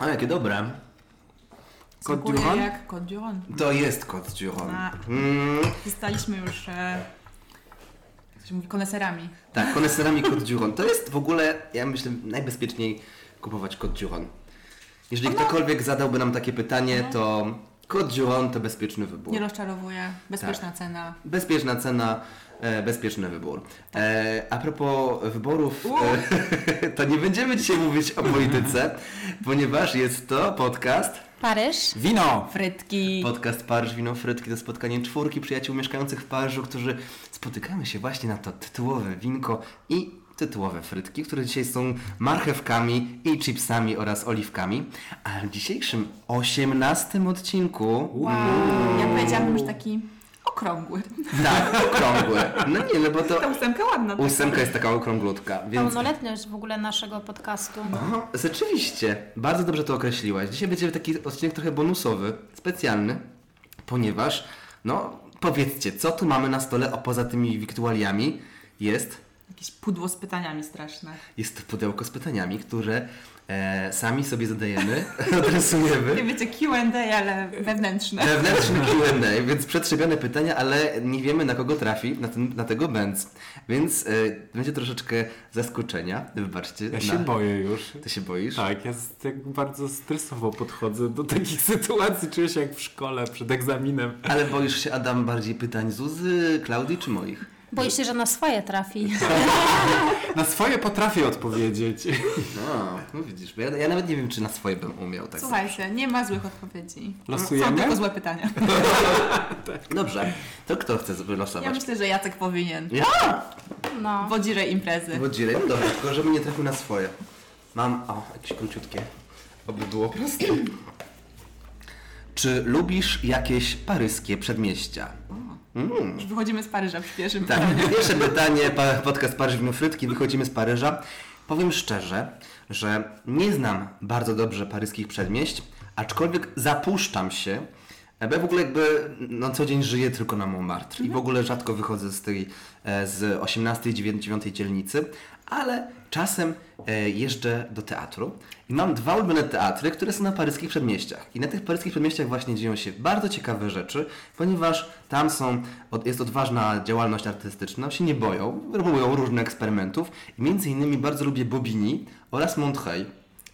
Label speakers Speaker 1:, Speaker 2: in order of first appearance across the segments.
Speaker 1: O, jakie dobre. Kot
Speaker 2: Smakuje
Speaker 1: Duron?
Speaker 2: jak kot Duron.
Speaker 1: To jest kot dziuron.
Speaker 2: A.
Speaker 1: Mm,
Speaker 2: Zostaliśmy już, e, jak się mówi, koneserami.
Speaker 1: tak, koneserami kot dziuron. To jest w ogóle, ja myślę, najbezpieczniej kupować kot dziuron. Jeżeli ktokolwiek zadałby nam takie pytanie, to kot dziuron to bezpieczny wybór.
Speaker 2: Mhm. Nie rozczarowuje, bezpieczna cena.
Speaker 1: Bezpieczna cena, e, bezpieczny wybór.
Speaker 2: Tak.
Speaker 1: E, a propos wyborów,
Speaker 2: Uuu.
Speaker 1: e, to nie będziemy dzisiaj mówić o polityce, ponieważ jest to podcast.
Speaker 3: Paryż?
Speaker 4: Wino!
Speaker 2: Frytki.
Speaker 1: Podcast Paryż Wino Frytki to spotkanie czwórki przyjaciół mieszkających w Paryżu, którzy spotykamy się właśnie na to tytułowe winko i tytułowe frytki, które dzisiaj są marchewkami i chipsami oraz oliwkami. A w dzisiejszym 18 odcinku mm,
Speaker 2: Ja powiedziałabym już taki okrągły.
Speaker 1: tak, okrągły. No nie, no bo to
Speaker 2: Ta ósemka ładna. tak?
Speaker 1: ósemka jest taka okrąglutka, więc
Speaker 3: Pełnoletność w ogóle naszego podcastu.
Speaker 1: Aha, rzeczywiście, bardzo dobrze to określiłaś. Dzisiaj będzie taki odcinek trochę bonusowy, specjalny, ponieważ, no, powiedzcie, co tu mamy na stole, a poza tymi wiktualiami jest,
Speaker 2: Jakieś pudło z pytaniami straszne.
Speaker 1: jest to pudełko z pytaniami, które e, sami sobie zadajemy, adresujemy.
Speaker 2: Nie wiecie, Q&A, ale wewnętrzne.
Speaker 1: Wewnętrzny Q&A, więc przetrzebione pytania, ale nie wiemy na kogo trafi, na, ten, na tego będz. Więc e, będzie troszeczkę zaskoczenia, wybaczcie.
Speaker 4: Ja się
Speaker 2: No.
Speaker 1: na...
Speaker 4: boję już.
Speaker 1: Ty się boisz?
Speaker 4: Tak, ja z- tak bardzo stresowo podchodzę do takich sytuacji. Czuję się jak w szkole przed egzaminem.
Speaker 1: Ale boisz się, Adam, bardziej pytań Zuzy, Klaudii czy moich?
Speaker 3: Boisz się, że na swoje trafi.
Speaker 4: Na swoje potrafię odpowiedzieć.
Speaker 1: No, no widzisz, bo ja, ja nawet nie wiem, czy na swoje bym umiał. Tak.
Speaker 2: Słuchajcie, nie ma złych odpowiedzi. Są
Speaker 4: Losujemy?
Speaker 2: tylko złe pytania.
Speaker 1: Dobrze, to kto chce
Speaker 2: Ja
Speaker 1: wylosować?
Speaker 2: myślę, że Jacek powinien.
Speaker 3: No.
Speaker 2: Wodzirej imprezy.
Speaker 1: Wodzirem? Dobrze, tylko żeby nie trafił na swoje. Mam, o, jakieś króciutkie. Oby było proste. Czy lubisz jakieś paryskie przedmieścia?
Speaker 2: Już wychodzimy z Paryża przy pierwszym.
Speaker 1: Tak, pierwsze pytanie, pa- podcast Paryż Wino Frytki, wychodzimy z Paryża. Powiem szczerze, że nie znam bardzo dobrze paryskich przedmieść, aczkolwiek zapuszczam się, bo ja w ogóle jakby na co dzień żyję tylko na Montmartre i w ogóle rzadko wychodzę z tej e, z 18 dziewię- 9 dzielnicy, ale czasem e, jeżdżę do teatru i mam dwa ulubione teatry, które są na paryskich przedmieściach. I na tych paryskich przedmieściach właśnie dzieją się bardzo ciekawe rzeczy, ponieważ tam są, od- jest odważna działalność artystyczna, się nie boją, robią różne eksperymentów. I między innymi bardzo lubię Bobini oraz Montreuil.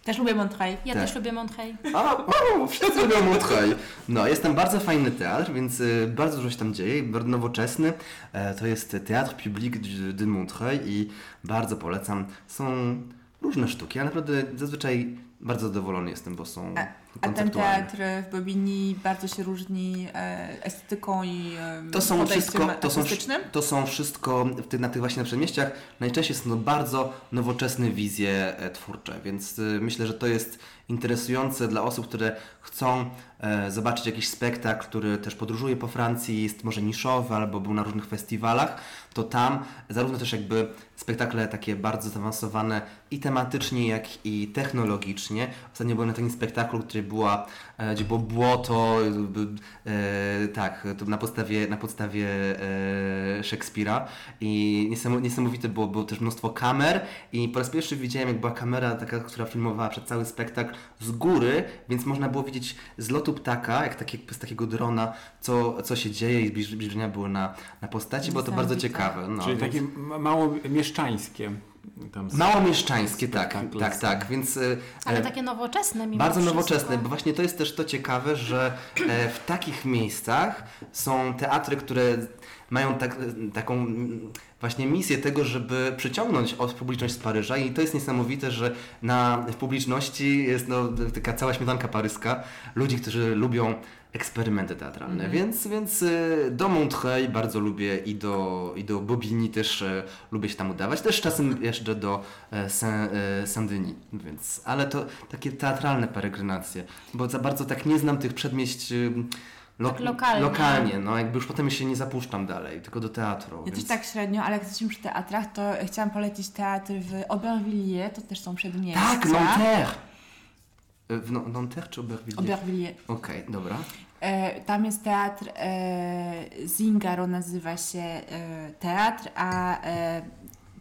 Speaker 2: Też lubię Montreuil.
Speaker 3: Ja
Speaker 1: Tak.
Speaker 3: też lubię Montreuil.
Speaker 1: A, o, wszyscy lubią Montreuil. No, jest tam bardzo fajny teatr, więc y, bardzo dużo się tam dzieje, bardzo nowoczesny. E, to jest Teatr Public du- de Montreuil i bardzo polecam. Są różne sztuki, a naprawdę zazwyczaj bardzo zadowolony jestem, bo są
Speaker 2: A, a ten
Speaker 1: konceptualne.
Speaker 2: teatr w Bobini bardzo się różni e, estetyką i e,
Speaker 1: To są
Speaker 2: podejściem
Speaker 1: wszystko, to są,
Speaker 2: artystycznym.
Speaker 1: to są wszystko w tych, na tych właśnie przedmieściach. Najczęściej są to bardzo nowoczesne wizje e, twórcze, więc y, myślę, że to jest interesujące dla osób, które chcą e, zobaczyć jakiś spektakl, który też podróżuje po Francji, jest może niszowy albo był na różnych festiwalach, to tam zarówno też jakby spektakle takie bardzo zaawansowane i tematycznie, jak i technologicznie. Ostatnio byłem na takim spektaklu, który była, e, gdzie było błoto, e, e, tak, to na podstawie, na podstawie e, Szekspira i niesamo- niesamowite było, było też mnóstwo kamer i po raz pierwszy widziałem, jak była kamera taka, która filmowała przez cały spektakl z góry, więc można było widzieć z lotu ptaka, jak takie, z takiego drona, co, co się dzieje i zbliż- zbliżenia były na, na postaci, było to bardzo
Speaker 2: Niesamowite.
Speaker 1: ciekawe. No,
Speaker 4: Czyli
Speaker 1: więc-
Speaker 4: takie ma- mało mieszczańskie. Tam
Speaker 2: No.
Speaker 4: są.
Speaker 1: Mało mieszczańskie, tak,
Speaker 4: Spektakl
Speaker 1: tak,
Speaker 4: z-
Speaker 1: tak, więc e,
Speaker 3: Ale
Speaker 1: e,
Speaker 3: takie nowoczesne mimo
Speaker 1: bardzo
Speaker 3: wszystko.
Speaker 1: nowoczesne, bo właśnie to jest też to ciekawe, że e, w takich miejscach są teatry, które mają tak, taką mm, właśnie misję tego, żeby przyciągnąć od publiczność z Paryża i to jest niesamowite, że na w publiczności jest no, taka cała śmietanka paryska ludzi, którzy lubią eksperymenty teatralne,
Speaker 2: Mhm.
Speaker 1: więc, więc e, do Montreuil bardzo lubię i do, i do Bobini też e, lubię się tam udawać, też czasem jeżdżę do e, Saint- e, Saint-Denis, więc, ale to takie teatralne peregrinacje, bo za bardzo tak nie znam tych przedmieść e, lo-
Speaker 3: Tak lokalnie.
Speaker 1: lokalnie, no jakby już potem się nie zapuszczam dalej, tylko do teatru,
Speaker 2: Ja
Speaker 1: więc
Speaker 2: też tak średnio, ale jak jesteśmy przy teatrach, to chciałam polecić teatr w Aubervilliers, to też są przedmieścia.
Speaker 1: tak, Nanterre! E, W No- Nanterre czy Aubervilliers?
Speaker 2: Aubervilliers.
Speaker 1: Okej, dobra.
Speaker 2: E, tam jest teatr e, Zingaro, nazywa się e, teatr, a e,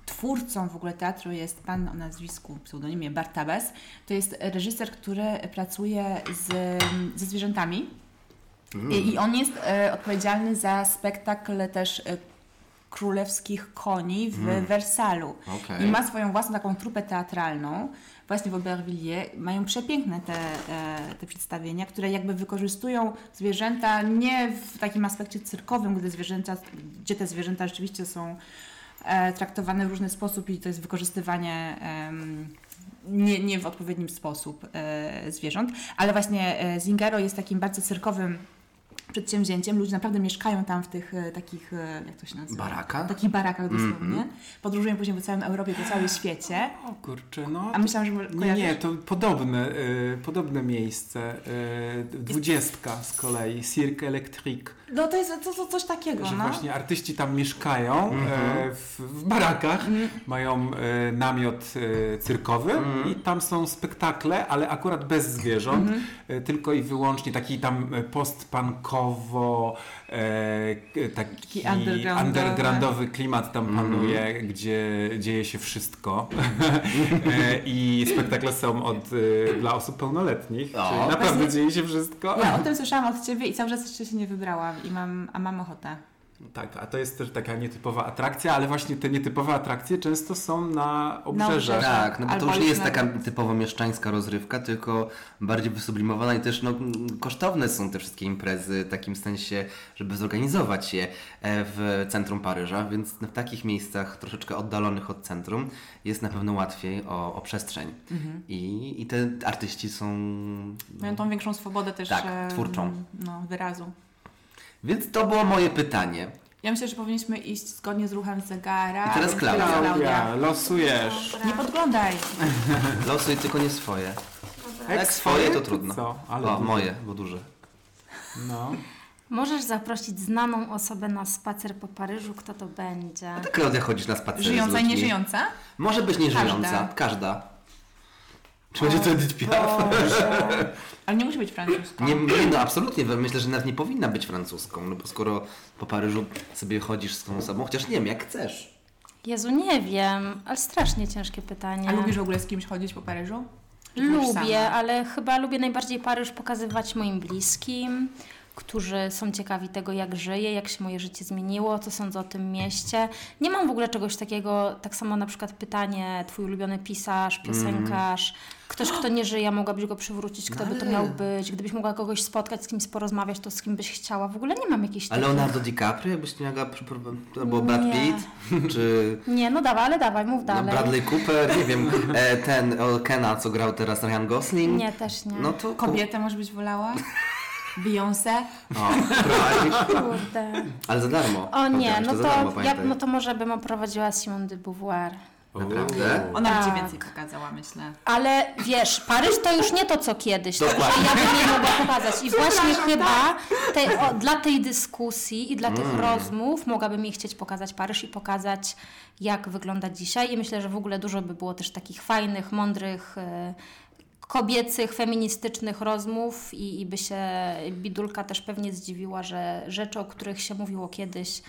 Speaker 2: twórcą w ogóle teatru jest pan o nazwisku, pseudonimie Bartabas. To jest reżyser, który pracuje z, ze zwierzętami. I, I on jest e, odpowiedzialny za spektakl też e, królewskich koni w Wersalu.
Speaker 1: Okej.
Speaker 2: I ma swoją własną taką trupę teatralną, właśnie w Aubervilliers. Mają przepiękne te, e, te przedstawienia, które jakby wykorzystują zwierzęta nie w takim aspekcie cyrkowym, gdy zwierzęta, gdzie te zwierzęta rzeczywiście są e, traktowane w różny sposób i to jest wykorzystywanie em, nie, nie w odpowiednim sposób e, zwierząt, ale właśnie e, Zingaro jest takim bardzo cyrkowym przedsięwzięciem. Ludzie naprawdę mieszkają tam w tych e, takich, e, jak to się nazywa?
Speaker 1: Baraka?
Speaker 2: takich barakach dosłownie.
Speaker 1: Mhm.
Speaker 2: Podróżują później po całym Europie, po całym świecie.
Speaker 4: O kurczę, no.
Speaker 2: A myślałam, że może
Speaker 4: Nie,
Speaker 2: kojarzysz.
Speaker 4: nie, to podobne, y, podobne miejsce. Y, dwudziestka z kolei, Cirque Electrique.
Speaker 2: No to jest to, to coś takiego,
Speaker 4: Że
Speaker 2: no.
Speaker 4: właśnie artyści tam mieszkają
Speaker 1: Mhm.
Speaker 4: e, w, w barakach,
Speaker 2: Mhm.
Speaker 4: mają e, namiot e, cyrkowy
Speaker 1: Mhm.
Speaker 4: i tam są spektakle, ale akurat bez zwierząt,
Speaker 2: Mhm.
Speaker 4: e, tylko i wyłącznie taki tam e, postpunkowo e, k- taki
Speaker 2: Taki undergroundowy.
Speaker 4: undergroundowy klimat tam
Speaker 1: Mhm.
Speaker 4: panuje, gdzie dzieje się wszystko e, i spektakle są od, e, dla osób pełnoletnich,
Speaker 1: O.
Speaker 4: czyli naprawdę
Speaker 2: Właśnie-
Speaker 4: dzieje się wszystko.
Speaker 2: Ja o tym słyszałam od Ciebie i cały czas jeszcze się nie wybrałam, i mam, a mam ochotę.
Speaker 4: Tak, a to jest też taka nietypowa atrakcja, ale właśnie te nietypowe atrakcje często są na obrzeżach.
Speaker 2: obrzeżach.
Speaker 1: Tak, no bo
Speaker 2: Albo
Speaker 1: to już nie
Speaker 2: już
Speaker 1: jest
Speaker 2: nawet-
Speaker 1: taka typowo mieszczańska rozrywka, tylko bardziej wysublimowana i też no, m, kosztowne są te wszystkie imprezy w takim sensie, żeby zorganizować je e, w centrum Paryża, więc no, w takich miejscach troszeczkę oddalonych od centrum jest na pewno łatwiej o, o przestrzeń. I, I te artyści są...
Speaker 2: Mają tą większą swobodę też.
Speaker 1: Tak,
Speaker 2: em,
Speaker 1: twórczą.
Speaker 2: No, wyrazu.
Speaker 1: Więc to było moje pytanie.
Speaker 2: Ja myślę, że powinniśmy iść zgodnie z ruchem zegara.
Speaker 1: I teraz Klaudia.
Speaker 4: Klaudia, losujesz.
Speaker 3: Dobra.
Speaker 2: Nie podglądaj.
Speaker 1: Losuj tylko nie swoje.
Speaker 3: Dobra.
Speaker 1: Jak swoje, to trudno.
Speaker 4: Co? Ale
Speaker 1: o,
Speaker 4: duże.
Speaker 1: moje, bo duże.
Speaker 4: No.
Speaker 3: Możesz zaprosić znaną osobę na spacer po Paryżu, kto to będzie?
Speaker 1: Ty, tak Klaudia, chodzisz na spacery z
Speaker 2: Żyjąca i
Speaker 1: ludźmi.
Speaker 2: nieżyjąca?
Speaker 1: Może być nieżyjąca, każda.
Speaker 2: Każda.
Speaker 1: Czy będzie to Edith Piaf?
Speaker 2: Boże. Ale nie musi być francuską.
Speaker 1: Nie, nie, no absolutnie, myślę, że nawet nie powinna być francuską, no bo skoro po Paryżu sobie chodzisz z tą osobą, chociaż nie wiem, jak chcesz.
Speaker 3: Jezu, nie wiem, ale strasznie ciężkie pytanie.
Speaker 2: A lubisz w ogóle z kimś chodzić po Paryżu? Czy chodzisz
Speaker 3: Lubię,
Speaker 2: sama?
Speaker 3: ale chyba lubię najbardziej Paryż pokazywać moim bliskim, którzy są ciekawi tego, jak żyję, jak się moje życie zmieniło, co sądzę o tym mieście. Nie mam w ogóle czegoś takiego, tak samo na przykład pytanie, twój ulubiony pisarz, piosenkarz,
Speaker 1: Mhm.
Speaker 3: ktoś, kto nie żyje, mogłabyś go przywrócić, kto
Speaker 1: No
Speaker 3: by to
Speaker 1: ale-
Speaker 3: miał być, gdybyś mogła kogoś spotkać, z kimś porozmawiać, to z kim byś chciała. W ogóle nie mam jakichś
Speaker 1: Ale
Speaker 3: takich-
Speaker 1: Leonardo DiCaprio, jakbyś miała przyprowadzić, albo Brad
Speaker 3: Tak. Nie.
Speaker 1: Pitt, czy
Speaker 3: Nie, no dawaj, ale dawaj, mów
Speaker 1: no,
Speaker 3: dalej.
Speaker 1: Bradley Cooper, nie wiem, e, ten o, Kena, co grał teraz Ryan Gosling.
Speaker 3: Nie, też nie.
Speaker 1: No to...
Speaker 2: Kobietę może być wolała? Beyoncé?
Speaker 1: O, prowadzisz,
Speaker 3: Kurde.
Speaker 1: ale za darmo.
Speaker 3: O nie,
Speaker 1: Powiedziałaś,
Speaker 3: no
Speaker 1: za
Speaker 3: to,
Speaker 1: darmo,
Speaker 3: ja,
Speaker 1: pamiętaj.
Speaker 3: no to może bym oprowadziła Simone de Beauvoir.
Speaker 1: Naprawdę?
Speaker 2: Ona by ci
Speaker 3: Tak.
Speaker 2: więcej pokazała, myślę.
Speaker 3: Ale wiesz, Paryż to już nie to, co kiedyś. To już
Speaker 1: Dokładnie.
Speaker 3: ja bym nie mogła pokazać. I właśnie chyba te, o, dla tej dyskusji i dla tych
Speaker 4: Mm.
Speaker 3: rozmów mogłabym jej chcieć pokazać Paryż i pokazać, jak wygląda dzisiaj. I myślę, że w ogóle dużo by było też takich fajnych, mądrych, e, kobiecych, feministycznych rozmów i, i by się Bidulka też pewnie zdziwiła, że rzeczy, o których się mówiło kiedyś,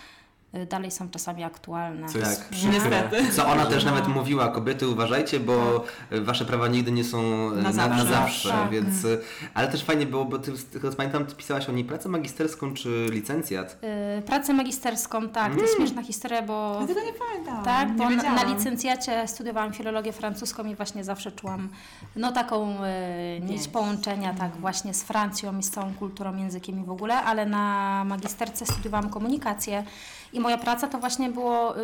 Speaker 3: e, dalej są czasami aktualne.
Speaker 4: Co jest
Speaker 1: Tak.
Speaker 4: przykre.
Speaker 2: Niestety.
Speaker 1: Co ona też nawet mówiła, kobiety uważajcie, bo wasze prawa nigdy nie są na, na
Speaker 2: Na
Speaker 1: zawsze,
Speaker 2: zawsze.
Speaker 3: Tak.
Speaker 1: więc... Ale też fajnie było, bo ty, z tego co pamiętam, ty pisałaś o niej pracę magisterską czy licencjat.
Speaker 3: Y, Pracę magisterską, tak,
Speaker 4: Mm.
Speaker 3: to jest śmieszna historia, bo
Speaker 2: Ja tego nie pamiętam.
Speaker 3: Tak, bo
Speaker 2: nie
Speaker 3: na, na
Speaker 2: wiedziałam.
Speaker 3: licencjacie studiowałam filologię francuską i właśnie zawsze czułam no, taką y, nić
Speaker 2: Więź.
Speaker 3: połączenia
Speaker 2: Mhm.
Speaker 3: tak właśnie z Francją i z całą kulturą, językiem i w ogóle, ale na magisterce studiowałam komunikację i moja praca to właśnie było, y,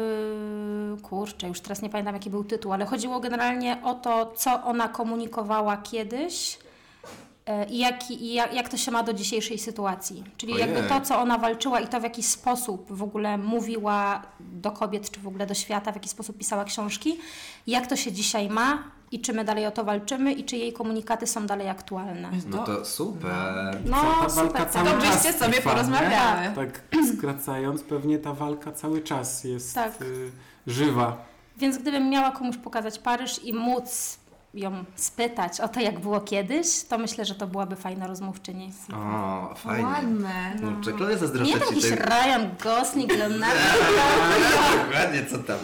Speaker 3: kurczę, już teraz nie pamiętam jaki był tytuł, ale chodziło generalnie o to, co ona komunikowała kiedyś. y, I, jak, i jak, jak to się ma do dzisiejszej sytuacji? Czyli jakby
Speaker 1: Ojej.
Speaker 3: to, co ona walczyła i to, w jaki sposób w ogóle mówiła do kobiet, czy w ogóle do świata, w jaki sposób pisała książki, jak to się dzisiaj ma i czy my dalej o to walczymy i czy jej komunikaty są dalej aktualne.
Speaker 1: No to super.
Speaker 3: No,
Speaker 4: Ta walka
Speaker 3: super.
Speaker 4: cały
Speaker 3: tak.
Speaker 4: czas
Speaker 2: Dobrzeście sobie
Speaker 4: trwa, nie?
Speaker 2: porozmawiały.
Speaker 4: Tak skracając, pewnie ta walka cały czas jest
Speaker 3: Tak.
Speaker 4: y, żywa.
Speaker 3: Więc gdybym miała komuś pokazać Paryż i móc ją spytać o to, jak było kiedyś, to myślę, że to byłaby fajna rozmówczyni.
Speaker 1: O, fajnie.
Speaker 2: Ładne.
Speaker 1: Kurczę, Klaudia
Speaker 3: Nie
Speaker 1: zazdroszczę No,
Speaker 3: jakiś
Speaker 1: ci. tej-
Speaker 3: Ryan Gosling, Leonardo
Speaker 1: Dokładnie, co tam.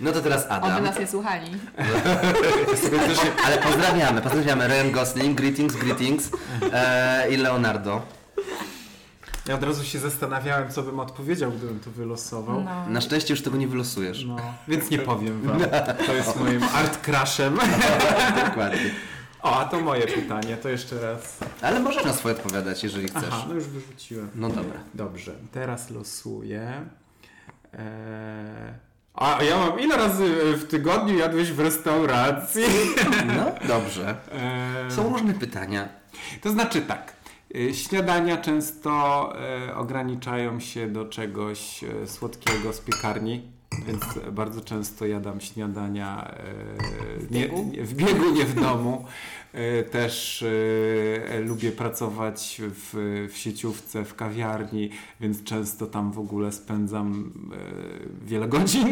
Speaker 1: No to teraz
Speaker 2: Oby
Speaker 1: Adam. Tak
Speaker 2: nas nie słuchali.
Speaker 1: Ale pozdrawiamy, pozdrawiamy Ryan Gosling, greetings, greetings e, i Leonardo.
Speaker 4: Ja od razu się zastanawiałem, co bym odpowiedział, gdybym to wylosował.
Speaker 3: No.
Speaker 1: Na szczęście już tego nie wylosujesz.
Speaker 4: No, więc nie powiem wam. To jest moim art crushem.
Speaker 1: Dokładnie.
Speaker 4: O, a to moje pytanie, to jeszcze raz.
Speaker 1: Ale możesz na swoje odpowiadać, jeżeli chcesz.
Speaker 4: Aha, no już wyrzuciłem.
Speaker 1: No dobra.
Speaker 4: Dobrze, teraz losuję. Eee... A ja mam ile razy w tygodniu jadłeś w restauracji?
Speaker 1: No dobrze.
Speaker 4: Eee...
Speaker 1: Są różne pytania.
Speaker 4: To znaczy tak. y, Śniadania często e, ograniczają się do czegoś e, słodkiego z piekarni, więc bardzo często jadam śniadania e,
Speaker 2: biegu?
Speaker 4: Nie, nie, w biegu, nie w domu. E, Też e, lubię pracować w, w sieciówce, w kawiarni, więc często tam w ogóle spędzam e, wiele godzin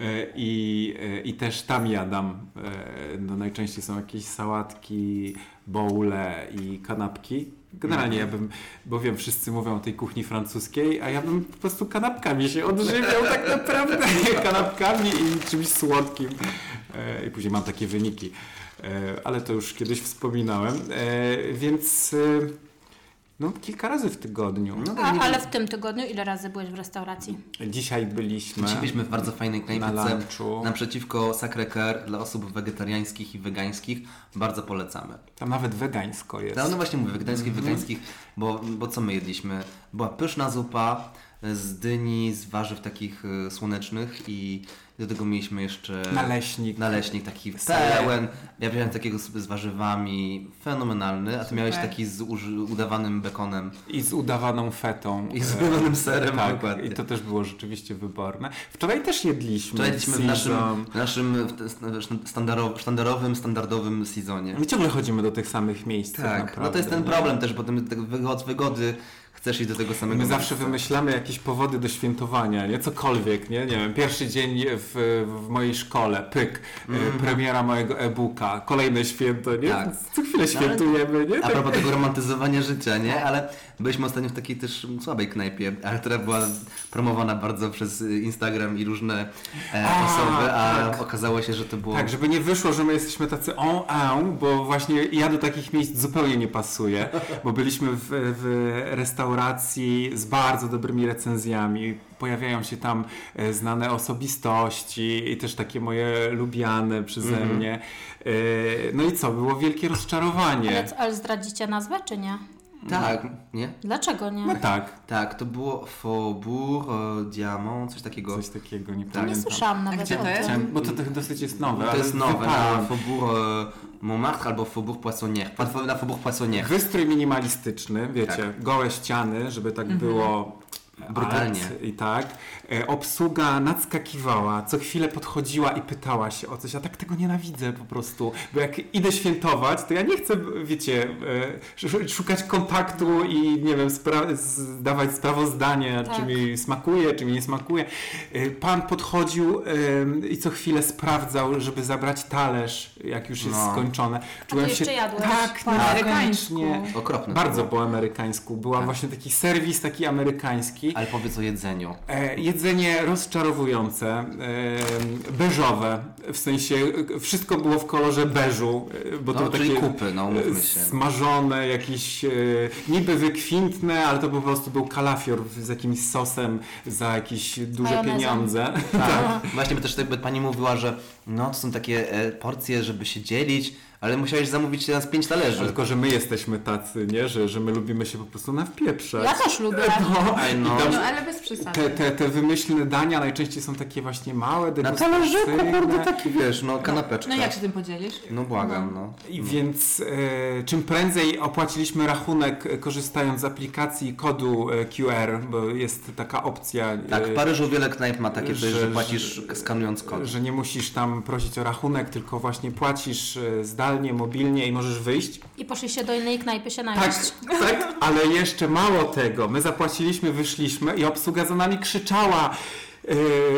Speaker 4: E, i, e, i też tam jadam. E, No, najczęściej są jakieś sałatki, bowle i kanapki. Generalnie
Speaker 1: Mhm.
Speaker 4: ja bym, bo wiem, wszyscy mówią o tej kuchni francuskiej, a ja bym po prostu kanapkami się odżywiał tak naprawdę, kanapkami i czymś słodkim. E, I później mam takie wyniki, E, ale to już kiedyś wspominałem, E, więc e, no kilka razy w tygodniu.
Speaker 1: No,
Speaker 3: A,
Speaker 1: nie
Speaker 3: ale w tym tygodniu ile razy byłeś w restauracji?
Speaker 4: Dzisiaj byliśmy
Speaker 1: Dzisiaj byliśmy w bardzo fajnej
Speaker 4: na
Speaker 1: knajpce
Speaker 4: lunchu,
Speaker 1: naprzeciwko Sacré-Cœur dla osób wegetariańskich i wegańskich. Bardzo polecamy.
Speaker 4: tam nawet wegańsko jest.
Speaker 1: No, no właśnie mówię, wegańskich,
Speaker 4: Mhm.
Speaker 1: wegańskich, bo, bo co my jedliśmy? Była pyszna zupa z dyni, z warzyw takich y, słonecznych i do tego mieliśmy jeszcze
Speaker 4: Naleśnik.
Speaker 1: naleśnik taki
Speaker 4: Ser.
Speaker 1: pełen. Ja wziąłem takiego z, z warzywami, fenomenalny, a ty miałeś taki z uży, udawanym bekonem
Speaker 4: I z udawaną fetą.
Speaker 1: i z
Speaker 4: E,
Speaker 1: pełnym serem.
Speaker 4: tak,
Speaker 1: dokładnie.
Speaker 4: i to też było rzeczywiście wyborne. Wczoraj też jedliśmy.
Speaker 1: Wczoraj jedliśmy w naszym,
Speaker 4: Caesar.
Speaker 1: w naszym w te- standaro- sztandarowym, standardowym sezonie.
Speaker 4: My ciągle chodzimy do tych samych miejsc.
Speaker 1: Tak, no to
Speaker 4: naprawdę,
Speaker 1: jest ten
Speaker 4: nie?
Speaker 1: problem też, bo potem tak wygod, wygody chcesz iść do tego samego
Speaker 4: My
Speaker 1: miejsca.
Speaker 4: zawsze wymyślamy jakieś powody do świętowania, nie? Cokolwiek, nie? Nie wiem, pierwszy dzień w, w mojej szkole, pyk, e, premiera mojego e-booka, kolejne święto, nie?
Speaker 1: Mhm. Tak.
Speaker 4: Co chwilę
Speaker 1: No, ale-
Speaker 4: świętujemy, nie?
Speaker 1: A
Speaker 4: Tak.
Speaker 1: propos tego romantyzowania życia, nie? Ale byliśmy ostatnio w takiej też słabej knajpie, ale która była promowana bardzo przez y, Instagram i różne e,
Speaker 4: A,
Speaker 1: osoby, a
Speaker 4: tak.
Speaker 1: okazało się, że to było...
Speaker 4: Tak, żeby nie wyszło, że my jesteśmy tacy on en, bo właśnie ja do takich miejsc zupełnie nie pasuję, bo byliśmy w, w restauracji z bardzo dobrymi recenzjami. Pojawiają się tam e, znane osobistości i też takie moje lubiane przeze
Speaker 1: Mhm.
Speaker 4: mnie. E, No i co? Było wielkie rozczarowanie.
Speaker 3: Ale, ale zdradzicie nazwę, czy nie?
Speaker 1: tak nie?
Speaker 3: Dlaczego nie?
Speaker 4: No tak,
Speaker 1: Tak, to było Faubourg e, Diamant, coś takiego.
Speaker 4: coś takiego nie
Speaker 3: nie
Speaker 4: pamiętam.
Speaker 3: No, słyszałam nawet
Speaker 2: gdzie
Speaker 3: o
Speaker 2: to
Speaker 3: tym.
Speaker 2: jest?
Speaker 4: Chciałem- Bo to, to dosyć jest nowe.
Speaker 1: Tak. to
Speaker 4: ale
Speaker 1: jest nowe, no.
Speaker 4: wypadło.
Speaker 1: na Faubourg e, Montmartre albo Faubourg Poissonnière. Pa- Na Faubourg Poissonnière.
Speaker 4: Wystrój minimalistyczny, wiecie,
Speaker 1: Tak.
Speaker 4: gołe ściany, żeby tak było
Speaker 1: Brutalnie.
Speaker 4: art I tak. E, Obsługa nadskakiwała, co chwilę podchodziła i pytała się o coś. Ja tak tego nienawidzę po prostu, bo jak idę świętować, to ja nie chcę, wiecie, e, sz- szukać kontaktu i nie wiem, spra- zdawać sprawozdanie,
Speaker 3: Tak.
Speaker 4: czy mi smakuje, czy mi nie smakuje. E, Pan podchodził em, i co chwilę sprawdzał, żeby zabrać talerz, jak już jest
Speaker 1: No.
Speaker 4: skończone.
Speaker 3: jeszcze jadłeś
Speaker 4: Tak,
Speaker 3: po
Speaker 4: nie,
Speaker 2: amerykańsku.
Speaker 4: koniecznie.
Speaker 1: Okropne.
Speaker 4: Bardzo po amerykańsku. Była właśnie taki serwis taki amerykański.
Speaker 1: Tak. Ale powiedz o jedzeniu.
Speaker 4: E, jedzenie rozczarowujące, e, beżowe, w sensie e, wszystko było w kolorze beżu, e, bo
Speaker 1: No,
Speaker 4: to
Speaker 1: czyli
Speaker 4: takie
Speaker 1: kupy, no umówmy
Speaker 4: e,
Speaker 1: się.
Speaker 4: smażone, jakieś e, niby wykwintne, ale to po prostu był kalafior w- z jakimś sosem za jakieś duże
Speaker 3: Majonezem.
Speaker 4: pieniądze.
Speaker 1: Tak. Właśnie by też jakby pani mówiła, że no to są takie e, porcje, żeby się dzielić, ale musiałeś zamówić teraz pięć talerzy.
Speaker 4: Tylko, że my jesteśmy tacy, nie? Że, że my lubimy się po prostu nawpieprzać.
Speaker 3: Ja też lubię.
Speaker 4: No,
Speaker 1: Ej, no.
Speaker 4: i tam-
Speaker 2: No ale bez przesady.
Speaker 4: Te, te, te wymyślne dania najczęściej są takie właśnie małe,
Speaker 1: Na
Speaker 4: degustacyjne.
Speaker 1: talerzyku, kurde, taki wiesz, no kanapeczka.
Speaker 2: No i jak się tym podzielisz?
Speaker 1: No błagam, no.
Speaker 4: I więc e, czym prędzej opłaciliśmy rachunek e, korzystając z aplikacji kodu e, QR, bo jest taka opcja, e,
Speaker 1: Tak, w Paryżu wiele knajp ma takie,
Speaker 4: że-
Speaker 1: że, że
Speaker 4: że-
Speaker 1: płacisz skanując kod.
Speaker 4: że nie musisz tam prosić o rachunek, tylko właśnie płacisz e, zdalnie, mobilnie i możesz wyjść.
Speaker 3: I poszliście do innej knajpy się najeść.
Speaker 4: Tak, tak, ale jeszcze mało tego. My zapłaciliśmy, wyszliśmy i obsługa za nami krzyczała,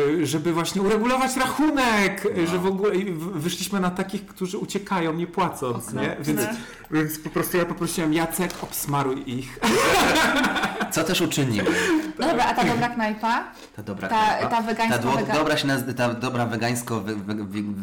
Speaker 4: yy, żeby właśnie uregulować rachunek, yy, że w
Speaker 1: No.
Speaker 4: ogóle i w- wyszliśmy na takich, którzy uciekają nie płacąc, nie? Więc, więc po prostu ja poprosiłem Jacek, obsmaruj ich.
Speaker 1: Co też uczyniły?
Speaker 2: No dobra, a ta dobra knajpa?
Speaker 1: Ta dobra
Speaker 2: Ta-
Speaker 1: knajpa.
Speaker 2: ta wegańsko-
Speaker 1: ta, dwo-
Speaker 2: wega-
Speaker 1: dobra się nazy- ta dobra wegańsko, we, we,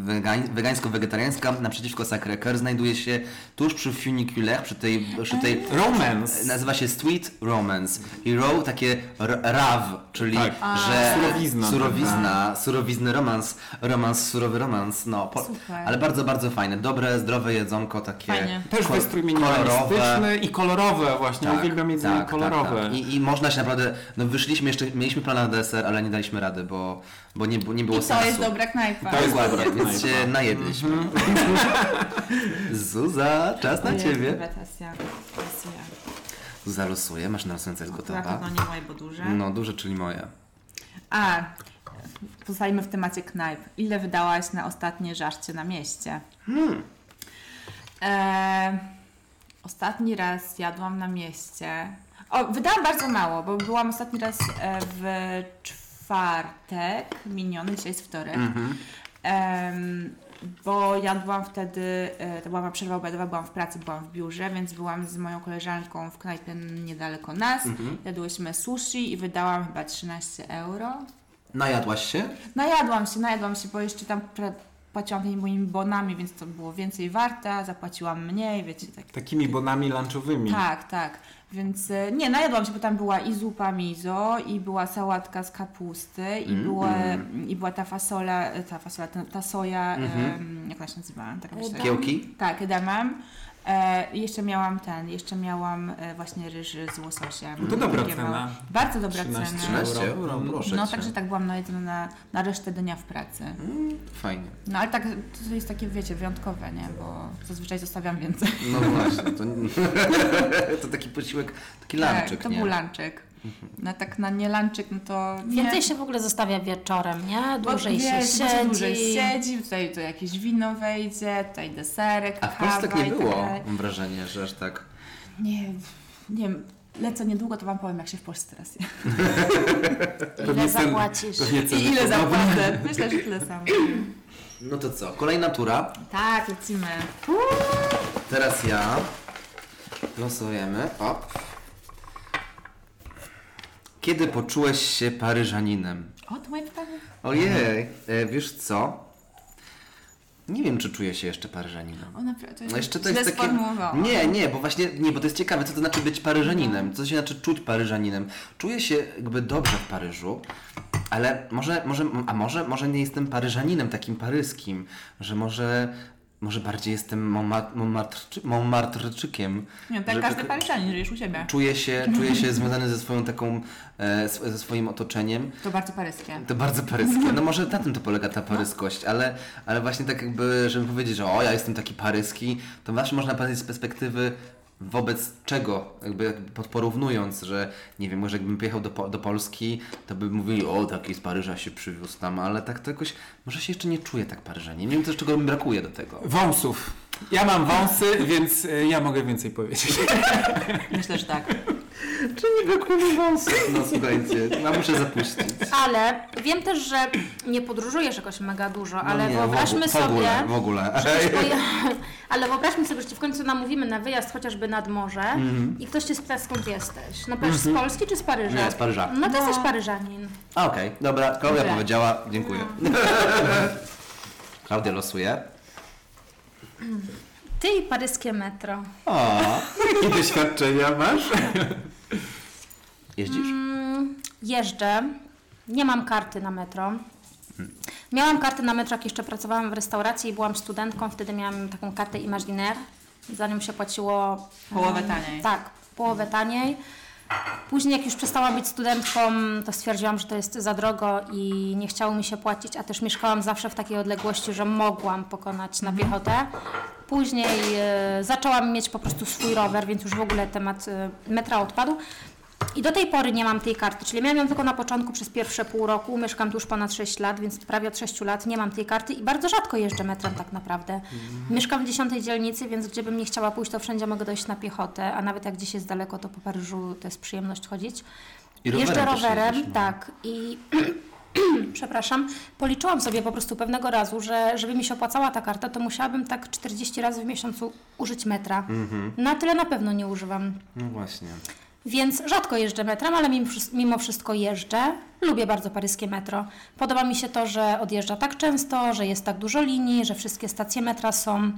Speaker 1: wegań, wegańsko-wegetariańska naprzeciwko Sacré-Cœur znajduje się tuż przy Funiculaire, przy tej, przy tej
Speaker 2: Mm.
Speaker 4: Romance.
Speaker 1: Nazywa się Street Romance. I row takie r- raw, czyli
Speaker 4: Tak.
Speaker 1: że
Speaker 4: Surowizna. tak.
Speaker 1: surowizna surowizny romans, romans, surowy romans, no. Po,
Speaker 2: Super.
Speaker 1: ale bardzo, bardzo fajne. Dobre, zdrowe jedzonko, takie
Speaker 2: Fajnie.
Speaker 4: Też
Speaker 1: ko-
Speaker 4: wystrój minimalistyczny i kolorowe właśnie.
Speaker 1: Tak,
Speaker 4: Uwielbiam jedzenie
Speaker 1: tak,
Speaker 4: kolorowe.
Speaker 1: Tak, tak. I, I można się naprawdę, no wyszliśmy jeszcze, mieliśmy plan na deser, ale nie daliśmy rady, bo, bo nie, bo nie było
Speaker 2: I
Speaker 1: sensu.
Speaker 2: to jest dobra knajpa.
Speaker 4: To jest
Speaker 1: Dokładnie,
Speaker 4: dobra
Speaker 1: więc
Speaker 2: no
Speaker 4: knajpa.
Speaker 1: się najedliśmy. Zuza, czas na
Speaker 2: Mhm. Ojej,
Speaker 1: ciebie.
Speaker 2: dobra, teraz ja- teraz ja.
Speaker 1: Zuza losuje, masz na losujące jest
Speaker 2: Akurat
Speaker 1: gotowa.
Speaker 2: to tak? nie moje, bo duże.
Speaker 1: No, duże, czyli moje.
Speaker 2: A, pozostajemy w temacie knajp. Ile wydałaś na ostatnie żarcie na mieście? E, ostatni raz jadłam na mieście. O, wydałam bardzo mało, bo byłam ostatni raz e, w czwartek miniony, dzisiaj jest wtorek. Em, bo jadłam wtedy, e, to była moja przerwa obiadowa, byłam w pracy, byłam w biurze, więc byłam z moją koleżanką w knajpie niedaleko nas. Jadłyśmy sushi i wydałam chyba 13 euro.
Speaker 1: Najadłaś się?
Speaker 2: Najadłam się, najadłam się, bo jeszcze tam pra- płaciłam tymi moimi bonami, więc to było więcej warte, a zapłaciłam mniej, wiecie, tak.
Speaker 4: Takimi bonami lunchowymi.
Speaker 2: Tak, tak. Więc e, nie, najadłam się, bo tam była i zupa miso, i była sałatka z kapusty,
Speaker 4: Mm.
Speaker 2: i, była, i była ta fasola, e, ta fasola, ta, ta soja,
Speaker 4: Mhm.
Speaker 2: em, jak ona się nazywała? Taka myślę-
Speaker 1: Kiełki?
Speaker 2: Tak, edamem. E, i jeszcze miałam ten, jeszcze miałam e, właśnie ryż z łososiem.
Speaker 4: To dobra
Speaker 2: Takie
Speaker 4: cena.
Speaker 2: małe- Bardzo dobra
Speaker 4: 13,
Speaker 2: cena.
Speaker 1: 13 euro, proszę
Speaker 2: No,
Speaker 1: cię.
Speaker 2: także tak byłam najedzona na, na resztę dnia w pracy.
Speaker 1: Fajnie.
Speaker 2: No, ale tak, to jest takie, wiecie, wyjątkowe, nie? Bo zazwyczaj zostawiam więcej.
Speaker 1: No właśnie, to, to taki posiłek, taki lanczyk,
Speaker 2: tak, to
Speaker 1: nie? Mhm.
Speaker 2: był lanczyk. No tak na nie lanczyk, no to... Nie.
Speaker 3: Więcej się w ogóle zostawia wieczorem, nie?
Speaker 2: Bo
Speaker 3: Dłużej się
Speaker 2: wiesz, właśnie
Speaker 3: siedzi.
Speaker 2: Dłużej siedzi, tutaj to jakieś wino wejdzie, tutaj deserek,
Speaker 1: A w Polsce tak
Speaker 2: kawa
Speaker 1: nie
Speaker 2: i
Speaker 1: było,
Speaker 2: dalej.
Speaker 1: mam wrażenie, że aż tak.
Speaker 2: Nie, nie wiem, lecę niedługo, to Wam powiem, jak się w Polsce teraz je.
Speaker 3: Ile zapłacisz?
Speaker 4: pewnie ceny
Speaker 2: I ile
Speaker 4: podobne.
Speaker 2: zapłacę? Myślę, że tyle samo.
Speaker 1: No to co, kolejna tura,
Speaker 2: Tak, lecimy.
Speaker 1: teraz ja. Losujemy, op. Kiedy poczułeś się Paryżaninem?
Speaker 2: O, to moje pytanie.
Speaker 1: Ojej, e, wiesz co? Nie wiem, czy czuję się jeszcze Paryżaninem.
Speaker 2: O, naprawdę,
Speaker 1: No jeszcze to
Speaker 2: źle
Speaker 1: jest takie...
Speaker 2: sformułowałam.
Speaker 1: Nie, nie, bo właśnie, nie, bo to jest ciekawe, co to znaczy być Paryżaninem, co to znaczy czuć Paryżaninem. Czuję się jakby dobrze w Paryżu, ale może, może, a może, może nie jestem Paryżaninem takim paryskim, że może, może bardziej jestem Montmartre- Montmartre- Montmartreczykiem.
Speaker 2: Nie, tak
Speaker 1: że-
Speaker 2: każdy paryżanin żyjesz u siebie.
Speaker 1: Czuję się, czuję się związany ze swoją taką, e, sw- ze swoim otoczeniem.
Speaker 2: To bardzo paryskie.
Speaker 1: To bardzo paryskie. No może na tym to polega ta paryskość, ale, ale właśnie tak jakby, żeby powiedzieć, że o, ja jestem taki paryski, to właśnie można powiedzieć z perspektywy wobec czego, jakby podporównując, że nie wiem, może jakbym pojechał do, Po- do Polski, to by mówili, o, taki z Paryża się przywiózł tam, ale tak to jakoś, może się jeszcze nie czuję tak Paryżanie. Nie wiem też, czego mi brakuje do tego.
Speaker 4: Wąsów. Ja mam wąsy, więc y, ja mogę więcej powiedzieć.
Speaker 2: Myślę, że tak.
Speaker 1: Czy nie brakuje mi wąsów? No słuchajcie, ja muszę zapuścić.
Speaker 3: No Ale wiem też, że nie podróżujesz jakoś mega dużo, ale
Speaker 1: No nie,
Speaker 3: wyobraźmy
Speaker 1: w, ogó- w ogóle,
Speaker 3: sobie,
Speaker 1: W ogóle,
Speaker 3: Przecież poje- Ale wyobraźmy sobie, że ci w końcu namówimy na wyjazd chociażby nad morze i ktoś cię spyta skąd jesteś. No powiesz, z Polski czy z Paryża?
Speaker 1: Nie, z Paryża.
Speaker 3: No to
Speaker 2: No.
Speaker 3: jesteś Paryżanin.
Speaker 1: A, Okej, dobra, Klaudia
Speaker 2: Dobra.
Speaker 1: powiedziała, dziękuję. Klaudia losuje.
Speaker 3: Ty i paryskie metro.
Speaker 1: O,
Speaker 4: Jakie doświadczenia masz?
Speaker 3: Tak.
Speaker 1: jeździsz?
Speaker 3: Mm, jeżdżę, nie mam karty na metro. Miałam kartę na metro, jak jeszcze pracowałam w restauracji i byłam studentką, wtedy miałam taką kartę Imaginaire. Za nią się płaciło...
Speaker 2: Połowę
Speaker 3: mm,
Speaker 2: taniej.
Speaker 3: Tak, połowę taniej. Później, jak już przestałam być studentką, to stwierdziłam, że to jest za drogo i nie chciało mi się płacić, a też mieszkałam zawsze w takiej odległości, że mogłam pokonać na piechotę. Później e, zaczęłam mieć po prostu swój rower, więc już w ogóle temat e, metra odpadł. I do tej pory nie mam tej karty, czyli miałam ją tylko na początku przez pierwsze pół roku. Mieszkam tu już ponad 6 lat, więc prawie od 6 lat nie mam tej karty i bardzo rzadko jeżdżę metrem tak naprawdę.
Speaker 1: Mhm.
Speaker 3: Mieszkam w 10 dzielnicy, więc gdziebym nie chciała pójść, to wszędzie mogę dojść na piechotę, a nawet jak gdzieś jest daleko, to po Paryżu to jest przyjemność chodzić.
Speaker 1: I rowerem
Speaker 3: Jeżdżę
Speaker 1: też
Speaker 3: rowerem,
Speaker 1: jeździsz, no.
Speaker 3: tak. I przepraszam, policzyłam sobie po prostu pewnego razu, że żeby mi się opłacała ta karta, to musiałabym tak
Speaker 1: Mhm.
Speaker 3: 40 razy w miesiącu użyć metra. Na tyle na pewno nie używam.
Speaker 1: No właśnie.
Speaker 3: Więc rzadko jeżdżę metrem, ale mimo wszy- mimo wszystko jeżdżę. Lubię bardzo paryskie metro. Podoba mi się to, że odjeżdża tak często, że jest tak dużo linii, że wszystkie stacje metra są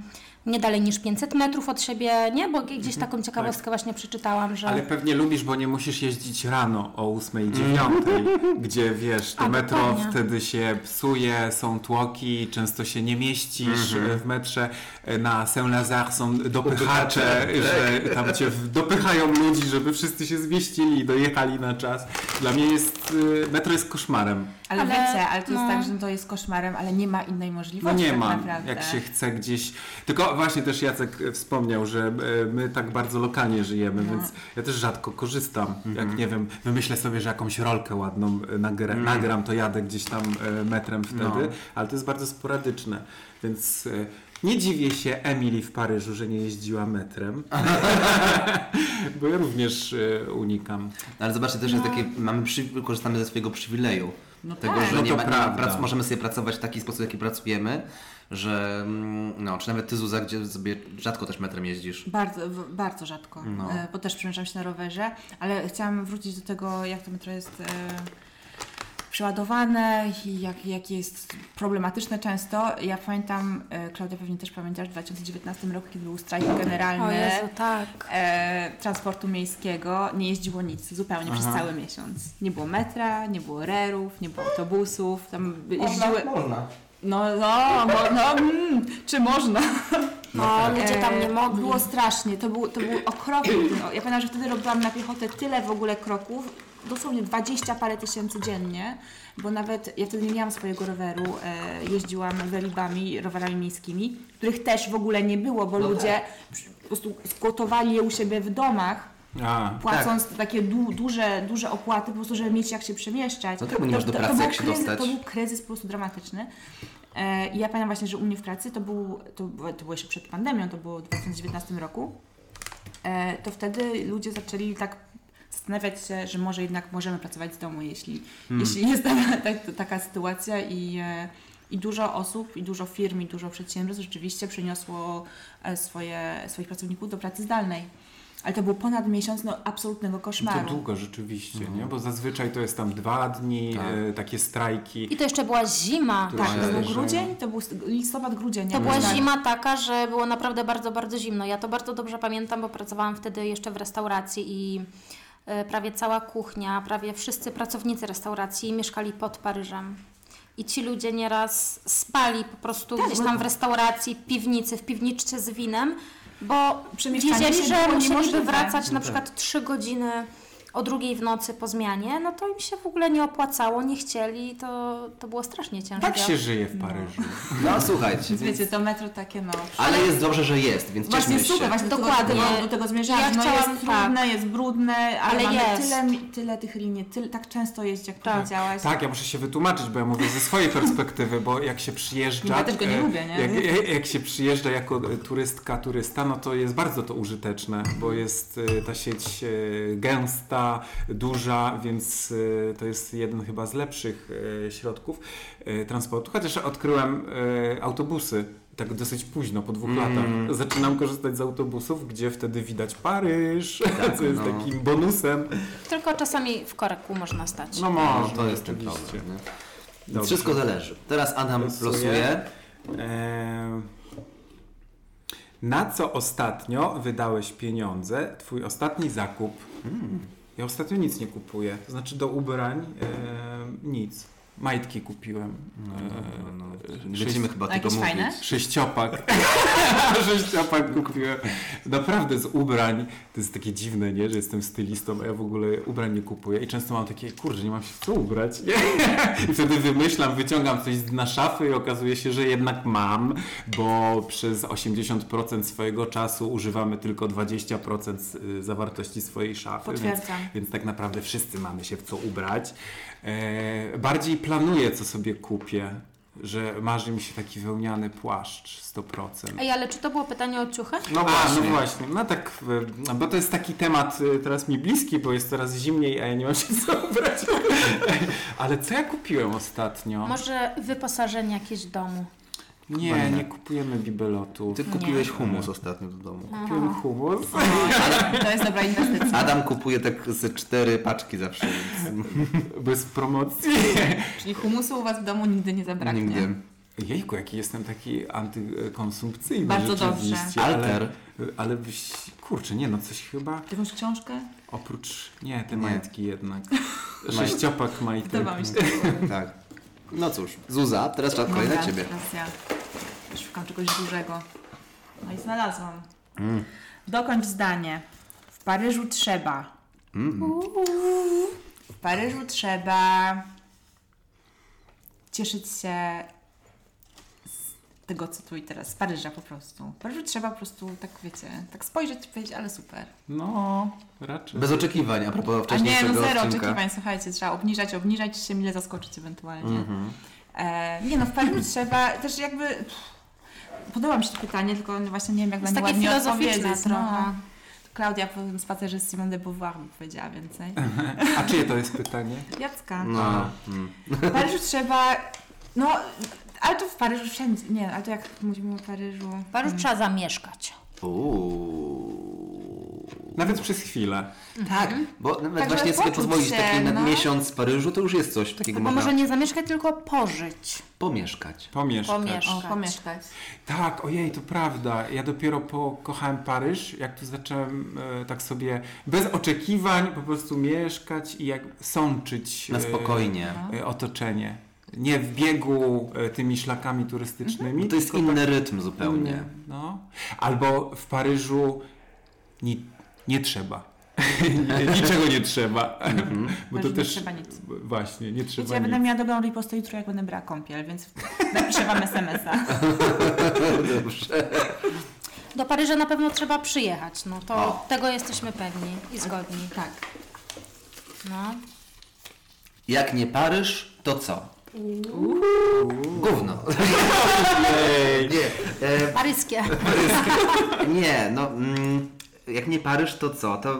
Speaker 3: nie dalej niż 500 metrów od siebie, nie? Bo gdzieś taką ciekawostkę właśnie przeczytałam, że...
Speaker 4: Ale pewnie lubisz, bo nie musisz jeździć rano o 8 i 9, gdzie wiesz, to
Speaker 3: Tak. A,
Speaker 4: metro
Speaker 3: dokładnie.
Speaker 4: wtedy się psuje, są tłoki, często się nie mieścisz e, w metrze. E, Na Saint-Lazare są dopychacze, Tak. że tam cię w- dopychają ludzi, żeby wszyscy się zmieścili i dojechali na czas. Dla mnie jest, e, metro jest koszmarem.
Speaker 2: Ale,
Speaker 3: Ale-
Speaker 2: wiecie, ale to
Speaker 3: no.
Speaker 2: jest tak, że to jest koszmarem, ale nie ma innej
Speaker 4: No
Speaker 2: możliwości.
Speaker 4: nie
Speaker 2: tak
Speaker 4: ma,
Speaker 2: Naprawdę.
Speaker 4: jak się chce gdzieś. Tylko właśnie też Jacek e, wspomniał, że e, my tak bardzo lokalnie żyjemy, więc ja też rzadko korzystam. Jak nie wiem, wymyślę sobie, że jakąś rolkę ładną e, nagra, nagram, to jadę gdzieś tam e, metrem wtedy,
Speaker 1: No.
Speaker 4: ale to jest bardzo sporadyczne, więc... e, Nie dziwię się Emily w Paryżu, że nie jeździła metrem, bo ja również e, unikam.
Speaker 1: No, Ale zobaczcie, też jest takie, mamy przy, korzystamy ze swojego przywileju.
Speaker 2: No
Speaker 1: tego,
Speaker 2: tak.
Speaker 1: że
Speaker 4: No
Speaker 1: nie
Speaker 4: to
Speaker 1: ma, nie ma
Speaker 4: prawda.
Speaker 1: prac, możemy sobie pracować w taki sposób, jaki pracujemy, że mm, no, czy nawet ty Zuza, gdzie sobie rzadko też metrem jeździsz.
Speaker 2: Bardzo, w- bardzo rzadko,
Speaker 1: No.
Speaker 2: e, bo też przemieszczam się na rowerze, ale chciałam wrócić do tego, jak to metro jest e, przeładowane i jak, jak jest problematyczne często. Ja pamiętam, e, Klaudia pewnie też pamiętasz, w 2019 roku, kiedy był strajk
Speaker 3: O
Speaker 2: generalny
Speaker 3: Jezu, tak.
Speaker 2: e, transportu miejskiego, nie jeździło nic zupełnie przez cały miesiąc. Nie było metra, nie było rerów, nie było autobusów, tam jeździły...
Speaker 1: Można.
Speaker 2: No, no, mo, no mm, czy można?
Speaker 3: No, ludzie tam nie
Speaker 2: E,
Speaker 3: mogli.
Speaker 2: Było strasznie, to był, to był okropny. ten- Ja pamiętam, że wtedy robiłam na piechotę tyle w ogóle kroków, dosłownie 20 parę tysięcy dziennie, bo nawet ja wtedy nie miałam swojego roweru, e, jeździłam welibami, rowerami miejskimi, których też w ogóle nie było, bo
Speaker 1: No tak.
Speaker 2: ludzie przy- po prostu skłotowali je u siebie w domach,
Speaker 4: A,
Speaker 1: Tak.
Speaker 2: płacąc takie du, duże, duże opłaty, po prostu, żeby mieć jak się przemieszczać.
Speaker 1: No tak, bo nie
Speaker 2: To-
Speaker 1: masz do
Speaker 2: to- to
Speaker 1: pracy,
Speaker 2: był
Speaker 1: jak się
Speaker 2: kryzys-
Speaker 1: dostać.
Speaker 2: To był kryzys po prostu dramatyczny. E, I ja pamiętam właśnie, że u mnie w pracy, to, był, to, było- to było jeszcze przed pandemią, to było w 2019 roku, e, to wtedy ludzie zaczęli tak zastanawiać się, że może jednak możemy pracować z domu, jeśli, jeśli jest taka, tak- taka sytuacja i, e, i dużo osób, i dużo firm, i dużo przedsiębiorstw rzeczywiście przyniosło e, swoje, swoich pracowników do pracy zdalnej. Ale to był ponad miesiąc no, absolutnego koszmaru.
Speaker 4: to długo rzeczywiście, nie? bo zazwyczaj to jest tam dwa dni,
Speaker 1: Tak.
Speaker 4: e, takie strajki.
Speaker 3: I to jeszcze była zima.
Speaker 4: Która-
Speaker 2: Tak, to był
Speaker 4: Zależy.
Speaker 2: grudzień, to był st- listopad, grudzień.
Speaker 3: To
Speaker 2: jak
Speaker 3: była
Speaker 2: tak.
Speaker 3: zima taka, że było naprawdę bardzo, bardzo zimno. Ja to bardzo dobrze pamiętam, bo pracowałam wtedy jeszcze w restauracji i e, prawie cała kuchnia, prawie wszyscy pracownicy restauracji mieszkali pod Paryżem. I ci ludzie nieraz spali po prostu
Speaker 2: Tak,
Speaker 3: gdzieś
Speaker 2: bo-
Speaker 3: tam w restauracji, w piwnicy, w piwniczce z winem, bo
Speaker 2: Przemieszczanie się
Speaker 3: wiedzieli, że
Speaker 2: było
Speaker 3: musieliby
Speaker 2: niemożliwe.
Speaker 4: No
Speaker 3: wracać na
Speaker 4: tak.
Speaker 3: przykład trzy godziny o drugiej w nocy po zmianie, no to im się w ogóle nie opłacało, nie chcieli, to, to było strasznie ciężko.
Speaker 4: Tak się żyje w Paryżu.
Speaker 1: No słuchajcie.
Speaker 2: Więc wiecie, to metro takie no...
Speaker 1: Ale jest dobrze, że jest, więc
Speaker 2: Właśnie
Speaker 1: cieszmy się.
Speaker 2: super, właśnie dokładnie
Speaker 3: Dokładnie.
Speaker 2: do tego, do tego zmierzałam.
Speaker 3: Ja
Speaker 2: no
Speaker 3: chciałam-
Speaker 2: jest trudne, jest brudne, ale,
Speaker 3: Ale
Speaker 2: mamy
Speaker 3: jest.
Speaker 2: Tyle, mi- tyle tych linii, tyle, tak często jeździ, jak powiedziałaś.
Speaker 4: Tak, ja muszę się wytłumaczyć, bo ja mówię ze swojej perspektywy, bo jak się przyjeżdża.
Speaker 2: Ja też go nie
Speaker 4: e,
Speaker 2: lubię, nie?
Speaker 4: Jak, jak- jak się przyjeżdża jako e, turystka, turysta, no to jest bardzo to użyteczne, bo jest e, ta sieć e, gęsta, duża, więc e, to jest jeden chyba z lepszych e, środków e, transportu. Chociaż odkryłem e, autobusy. Tak dosyć późno, po dwóch latach. Zaczynam korzystać z autobusów, gdzie wtedy widać Paryż, co jest
Speaker 1: no.
Speaker 4: takim bonusem.
Speaker 3: Tylko czasami w koreku można stać.
Speaker 4: No
Speaker 1: No,
Speaker 4: może,
Speaker 1: to jest ten
Speaker 4: oczywiście.
Speaker 1: problem. nie?
Speaker 4: Dobrze.
Speaker 1: Wszystko zależy. Teraz Adam
Speaker 4: Losuję.
Speaker 1: losuje.
Speaker 4: Eee, Na co ostatnio wydałeś pieniądze? Twój ostatni zakup. Hmm. Ja ostatnio nic nie kupuję. To znaczy do ubrań eee, nic. Majtki kupiłem. Eee,
Speaker 1: No,
Speaker 4: sześć-
Speaker 1: Będziemy chyba
Speaker 2: Jakieś
Speaker 1: tego mówić.
Speaker 2: fajne?
Speaker 4: Sześciopak. Sześciopak kupiłem. Naprawdę z ubrań. To jest takie dziwne, nie? Że jestem stylistą, a ja w ogóle ubrań nie kupuję. I często mam takie, kurczę, nie mam się w co ubrać. Nie? I wtedy wymyślam, wyciągam coś z dna szafy i okazuje się, że jednak mam, bo przez 80% swojego czasu używamy tylko 20% z- zawartości swojej szafy. Więc,
Speaker 2: Potwierdzam.
Speaker 4: więc tak naprawdę wszyscy mamy się w co ubrać. E, bardziej planuję, co sobie kupię. Że marzy mi się taki wełniany płaszcz 100%.
Speaker 3: Ej, ale czy to było pytanie o ciuchy?
Speaker 1: No
Speaker 4: A, no
Speaker 1: właśnie.
Speaker 4: właśnie, no tak, y, no bo to jest taki temat y, teraz mi bliski, bo jest coraz zimniej, a ja nie mam się co ubrać. Ale co ja kupiłem ostatnio?
Speaker 3: Może wyposażenie jakieś domu.
Speaker 1: Chyba
Speaker 4: Nie,
Speaker 1: nie.
Speaker 4: nie kupujemy bibelotu.
Speaker 1: Ty kupiłeś humus ostatnio do domu.
Speaker 4: Kupiłem humus.
Speaker 2: No, To jest dobra inwestycja.
Speaker 1: Adam kupuje tak ze cztery paczki zawsze, więc
Speaker 4: Bez promocji.
Speaker 2: Czyli humusu u Was w domu nigdy nie zabraknie.
Speaker 1: nigdy.
Speaker 4: Jejku, jaki jestem taki antykonsumpcyjny
Speaker 2: Bardzo dobrze.
Speaker 4: rzeczywiście,
Speaker 1: Alter.
Speaker 4: Ale, ale byś, kurczę, nie no, coś chyba
Speaker 2: Jakąś książkę?
Speaker 4: oprócz, nie, te
Speaker 1: Nie.
Speaker 4: majtki jednak. Sześciopak majtek.
Speaker 2: Wydawało mi się.
Speaker 1: Tak. No cóż, Zuza, teraz czas kolej na
Speaker 2: Dobra,
Speaker 1: ciebie.
Speaker 2: Teraz ja szukam czegoś dużego. No i znalazłam.
Speaker 1: Mm.
Speaker 2: Dokończ zdanie. W Paryżu trzeba.
Speaker 1: Mm.
Speaker 2: W Paryżu trzeba cieszyć się z tego, co tu i teraz, z Paryża po prostu. W Paryżu trzeba po prostu, tak wiecie, tak spojrzeć i powiedzieć, ale super.
Speaker 4: No, raczej.
Speaker 1: Bez oczekiwań, a propos
Speaker 2: A nie, no
Speaker 1: wcześniejszego
Speaker 2: zero
Speaker 1: odcinka.
Speaker 2: oczekiwań, słuchajcie, trzeba obniżać, obniżać się, mile zaskoczyć ewentualnie. E, nie no, w Paryżu trzeba też jakby... Podoba mi się to pytanie, tylko no właśnie nie wiem, jak na
Speaker 3: Jest
Speaker 2: nie
Speaker 3: takie
Speaker 2: ładnie
Speaker 3: filozoficzne
Speaker 2: odpowiedzieć.
Speaker 3: trochę.
Speaker 2: No. Klaudia po tym spacerze z Simone de Beauvoir mi powiedziała więcej.
Speaker 4: A czyje to jest pytanie?
Speaker 2: Jacka.
Speaker 1: No, mm.
Speaker 2: W Paryżu trzeba... No, ale to w Paryżu wszędzie. Nie, ale to jak mówimy o Paryżu...
Speaker 3: W Paryżu trzeba zamieszkać.
Speaker 1: No. Uuu.
Speaker 4: Nawet No przez chwilę.
Speaker 1: Tak, bo nawet
Speaker 2: Tak,
Speaker 1: właśnie
Speaker 2: żeby
Speaker 1: sobie
Speaker 2: poczuć
Speaker 1: pozwolić
Speaker 2: się,
Speaker 1: taki na
Speaker 2: no. Tak,
Speaker 1: miesiąc w Paryżu, to już jest coś takiego
Speaker 3: Tylko
Speaker 1: można
Speaker 3: może nie zamieszkać, tylko pożyć.
Speaker 1: pomieszkać.
Speaker 4: Pomieszkać.
Speaker 3: Pomieszkać.
Speaker 2: O, pomieszkać.
Speaker 4: Tak, ojej, to prawda. Ja dopiero pokochałem Paryż, jak tu zacząłem e, tak sobie bez oczekiwań po prostu mieszkać i jak sączyć
Speaker 1: Na
Speaker 4: e,
Speaker 1: spokojnie.
Speaker 2: No.
Speaker 4: e, otoczenie. Nie w biegu e, tymi szlakami turystycznymi.
Speaker 1: Bo to jest
Speaker 4: tylko
Speaker 1: inny rytm zupełnie.
Speaker 4: inny, No. Albo w Paryżu ni- nie trzeba. Niczego nie trzeba. Bo
Speaker 2: Paryżu
Speaker 4: to
Speaker 2: nie
Speaker 4: też
Speaker 2: trzeba nic.
Speaker 4: właśnie nie trzeba
Speaker 2: Wiecie, ja będę
Speaker 4: nic.
Speaker 2: miała dobrą ripostę jutro, jak będę brała kąpiel, więc napiszę Wam SMS-a.
Speaker 1: Dobrze.
Speaker 3: Do Paryża na pewno trzeba przyjechać. No to
Speaker 1: O.
Speaker 3: tego jesteśmy pewni i zgodni. Tak. No.
Speaker 1: Jak nie Paryż, to co? Gówno. nie, e,
Speaker 3: Paryskie.
Speaker 1: nie, no mm, jak nie Paryż, to co? To,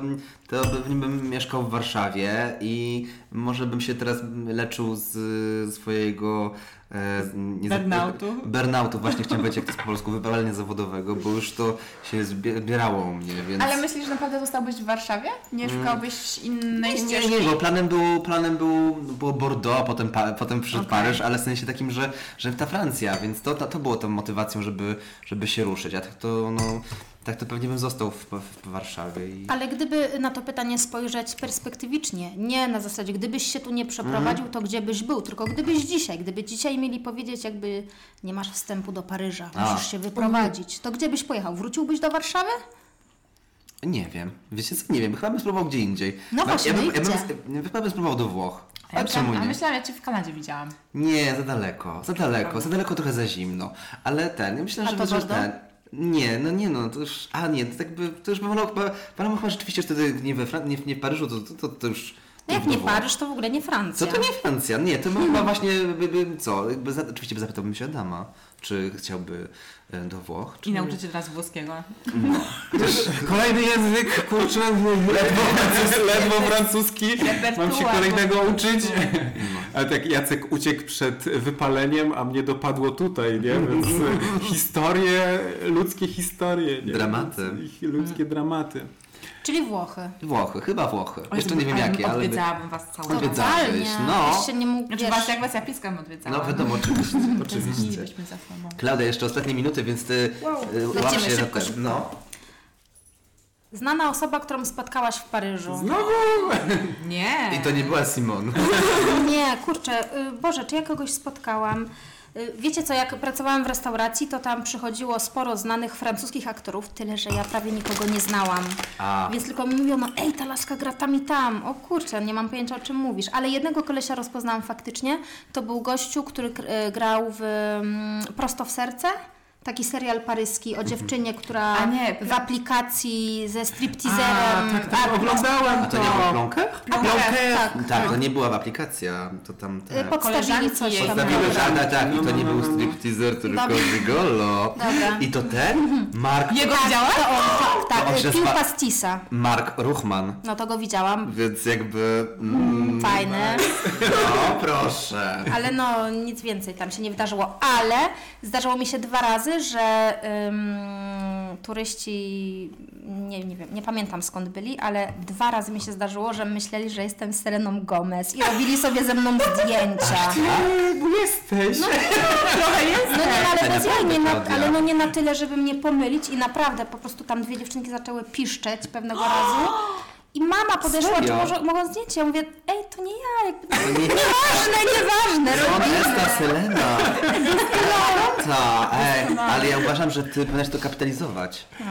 Speaker 1: to pewnie bym mieszkał w Warszawie i może bym się teraz leczył z swojego... E, z- nie-
Speaker 2: Burnoutu.
Speaker 1: Burnoutu, właśnie chciałem powiedzieć, jak to jest po polsku, wypalenia zawodowego, bo już to się zbierało u mnie, więc...
Speaker 2: Ale myślisz, że naprawdę zostałbyś w Warszawie? Nie szukałbyś innej
Speaker 1: Nie,
Speaker 2: ścieżki?
Speaker 1: nie, bo planem był, planem był, było Bordeaux, potem, pa, potem przyszedł Paryż, ale w sensie takim, że, że ta Francja, więc to, to, to było tą motywacją, żeby, żeby się ruszyć, a tak to, no, tak to pewnie bym został w, w Warszawie i...
Speaker 3: Ale gdyby na to pytanie spojrzeć perspektywicznie, nie na zasadzie, gdybyś się tu nie przeprowadził,
Speaker 1: Mhm.
Speaker 3: to gdzie byś był, tylko gdybyś dzisiaj, gdyby dzisiaj mieli powiedzieć, jakby nie masz wstępu do Paryża,
Speaker 1: A.
Speaker 3: musisz się wyprowadzić, to gdzie byś pojechał? Wróciłbyś do Warszawy?
Speaker 1: Nie wiem, wiecie co, nie wiem, chyba bym spróbował gdzie indziej. Znaczy,
Speaker 3: No właśnie,
Speaker 1: ja bym,
Speaker 3: no i
Speaker 1: ja bym,
Speaker 3: gdzie?
Speaker 1: ja bym, chyba bym spróbował do Włoch,
Speaker 2: A
Speaker 1: a czemu
Speaker 2: myślałam, a
Speaker 1: nie?
Speaker 2: myślałam, ja Cię w Kanadzie widziałam.
Speaker 1: Nie, za daleko, za daleko, za daleko trochę za zimno, ale ten, ja myślę,
Speaker 3: A
Speaker 1: że...
Speaker 3: to
Speaker 1: że
Speaker 3: Bordeaux?
Speaker 1: ten, nie, no nie no, to już, a nie, to tak by, to już by wolał, chyba- wolałbym chyba rzeczywiście wtedy nie we Fran- nie, w- nie w Paryżu, to, to, to, to już...
Speaker 3: No jak
Speaker 1: do
Speaker 3: nie
Speaker 1: Włoch.
Speaker 3: Paryż, to w ogóle nie
Speaker 1: Co
Speaker 3: Francja.
Speaker 1: to nie Francja? Nie, to bym chyba właśnie, by, by, co, jakby za, oczywiście by zapytałbym się Adama, czy chciałby e, do Włoch, czy
Speaker 2: I nauczyciel raz włoskiego.
Speaker 4: Kolejny język, kurczę, ledwo francuski. Ledwo francuski. Mam się
Speaker 2: Repertuar,
Speaker 4: kolejnego
Speaker 2: bo-
Speaker 4: uczyć. Ale tak Jacek uciekł przed wypaleniem, a mnie dopadło tutaj, nie? Więc y, historie, ludzkie historie. Nie?
Speaker 1: Dramaty.
Speaker 4: Więc ich Ludzkie dramaty.
Speaker 3: Czyli Włochy.
Speaker 1: Włochy, chyba Włochy, jeszcze nie wiem
Speaker 2: Ale
Speaker 1: jakie, ale... by-
Speaker 2: Odwiedzałabym Was cały
Speaker 1: Odwiedza-
Speaker 2: czas.
Speaker 1: Odwiedzałeś, no.
Speaker 3: Byś się nie mógł,
Speaker 2: Znaczy
Speaker 3: wiesz,
Speaker 2: Was, jak Was ja piskam odwiedzałam.
Speaker 1: No wiadomo, oczywiście, oczywiście.
Speaker 2: Bylibyśmy za sobą.
Speaker 1: Klaudia, jeszcze ostatnie minuty, więc ty wow. łap
Speaker 3: Lecimy
Speaker 1: się
Speaker 3: szybko,
Speaker 1: za
Speaker 3: szybko.
Speaker 1: ten. No,
Speaker 3: Znana osoba, którą spotkałaś w Paryżu.
Speaker 4: Znowu!
Speaker 2: Nie.
Speaker 1: i to nie była Simon.
Speaker 3: Nie, kurczę, y, Boże, czy ja kogoś spotkałam? Y, Wiecie co, jak pracowałam w restauracji, to tam przychodziło sporo znanych francuskich aktorów, tyle że ja prawie nikogo nie znałam.
Speaker 1: A.
Speaker 3: Więc tylko mi mówiono, ej, ta laska gra tam i tam. O kurczę, nie mam pojęcia o czym mówisz. Ale jednego kolesia rozpoznałam faktycznie. To był gościu, który k- y, grał w mm, Prosto w serce. Taki serial paryski
Speaker 4: Mhm.
Speaker 3: o dziewczynie, która
Speaker 2: A nie,
Speaker 3: w aplikacji ze
Speaker 4: A,
Speaker 3: stripteaserem.
Speaker 4: tak, tak, oglądałam
Speaker 1: To nie było w
Speaker 4: to.
Speaker 1: plonkach?
Speaker 3: Plonkę, tak.
Speaker 1: Tak, to nie była w aplikacji, a to tam...
Speaker 3: Y,
Speaker 4: tak.
Speaker 1: Te...
Speaker 3: Podstawili
Speaker 2: Koleżanki
Speaker 3: coś
Speaker 2: jej.
Speaker 3: tam.
Speaker 1: Podstawimy żada, tak, i
Speaker 4: No,
Speaker 1: to
Speaker 4: no,
Speaker 1: nie
Speaker 4: no,
Speaker 1: był
Speaker 4: no.
Speaker 1: stripteaser, tylko
Speaker 3: Dobra.
Speaker 1: gigolo.
Speaker 3: Dobra.
Speaker 1: I to ten Mark,
Speaker 2: Jego
Speaker 3: Tak,
Speaker 2: widziałaś?
Speaker 3: to on, tak,
Speaker 1: To on
Speaker 3: tak.
Speaker 1: się
Speaker 3: y,
Speaker 1: spa-
Speaker 3: Pił pastisa.
Speaker 1: Mark Ruchman.
Speaker 3: No to go widziałam.
Speaker 1: Więc jakby... Mm,
Speaker 3: Fajny.
Speaker 1: no proszę.
Speaker 3: Ale no, nic więcej tam się nie wydarzyło. Ale zdarzyło mi się dwa razy, że ym, turyści, nie, nie wiem, nie pamiętam skąd byli, ale dwa razy mi się zdarzyło, że myśleli, że jestem Seleną Gomez i robili sobie ze mną zdjęcia.
Speaker 4: Ty, bo jesteś.
Speaker 3: No, Trochę jest? No nie, ale
Speaker 1: Tak
Speaker 3: bez jaj,
Speaker 1: naprawdę
Speaker 3: nie na,
Speaker 1: prawda.
Speaker 3: ale no nie na tyle, żeby mnie pomylić i naprawdę po prostu tam dwie dziewczynki zaczęły piszczeć pewnego razu. I mama podeszła,
Speaker 1: Serio?
Speaker 3: czy może, mogą zdjęcie? Ja mówię, ej, to nie ja, jakby to
Speaker 1: To No nie-
Speaker 3: nieważne, nieważne.
Speaker 1: To
Speaker 3: robimy.
Speaker 1: jest ta Selena. Ta, ej, ale ja uważam, że ty powinieneś to kapitalizować.
Speaker 3: No,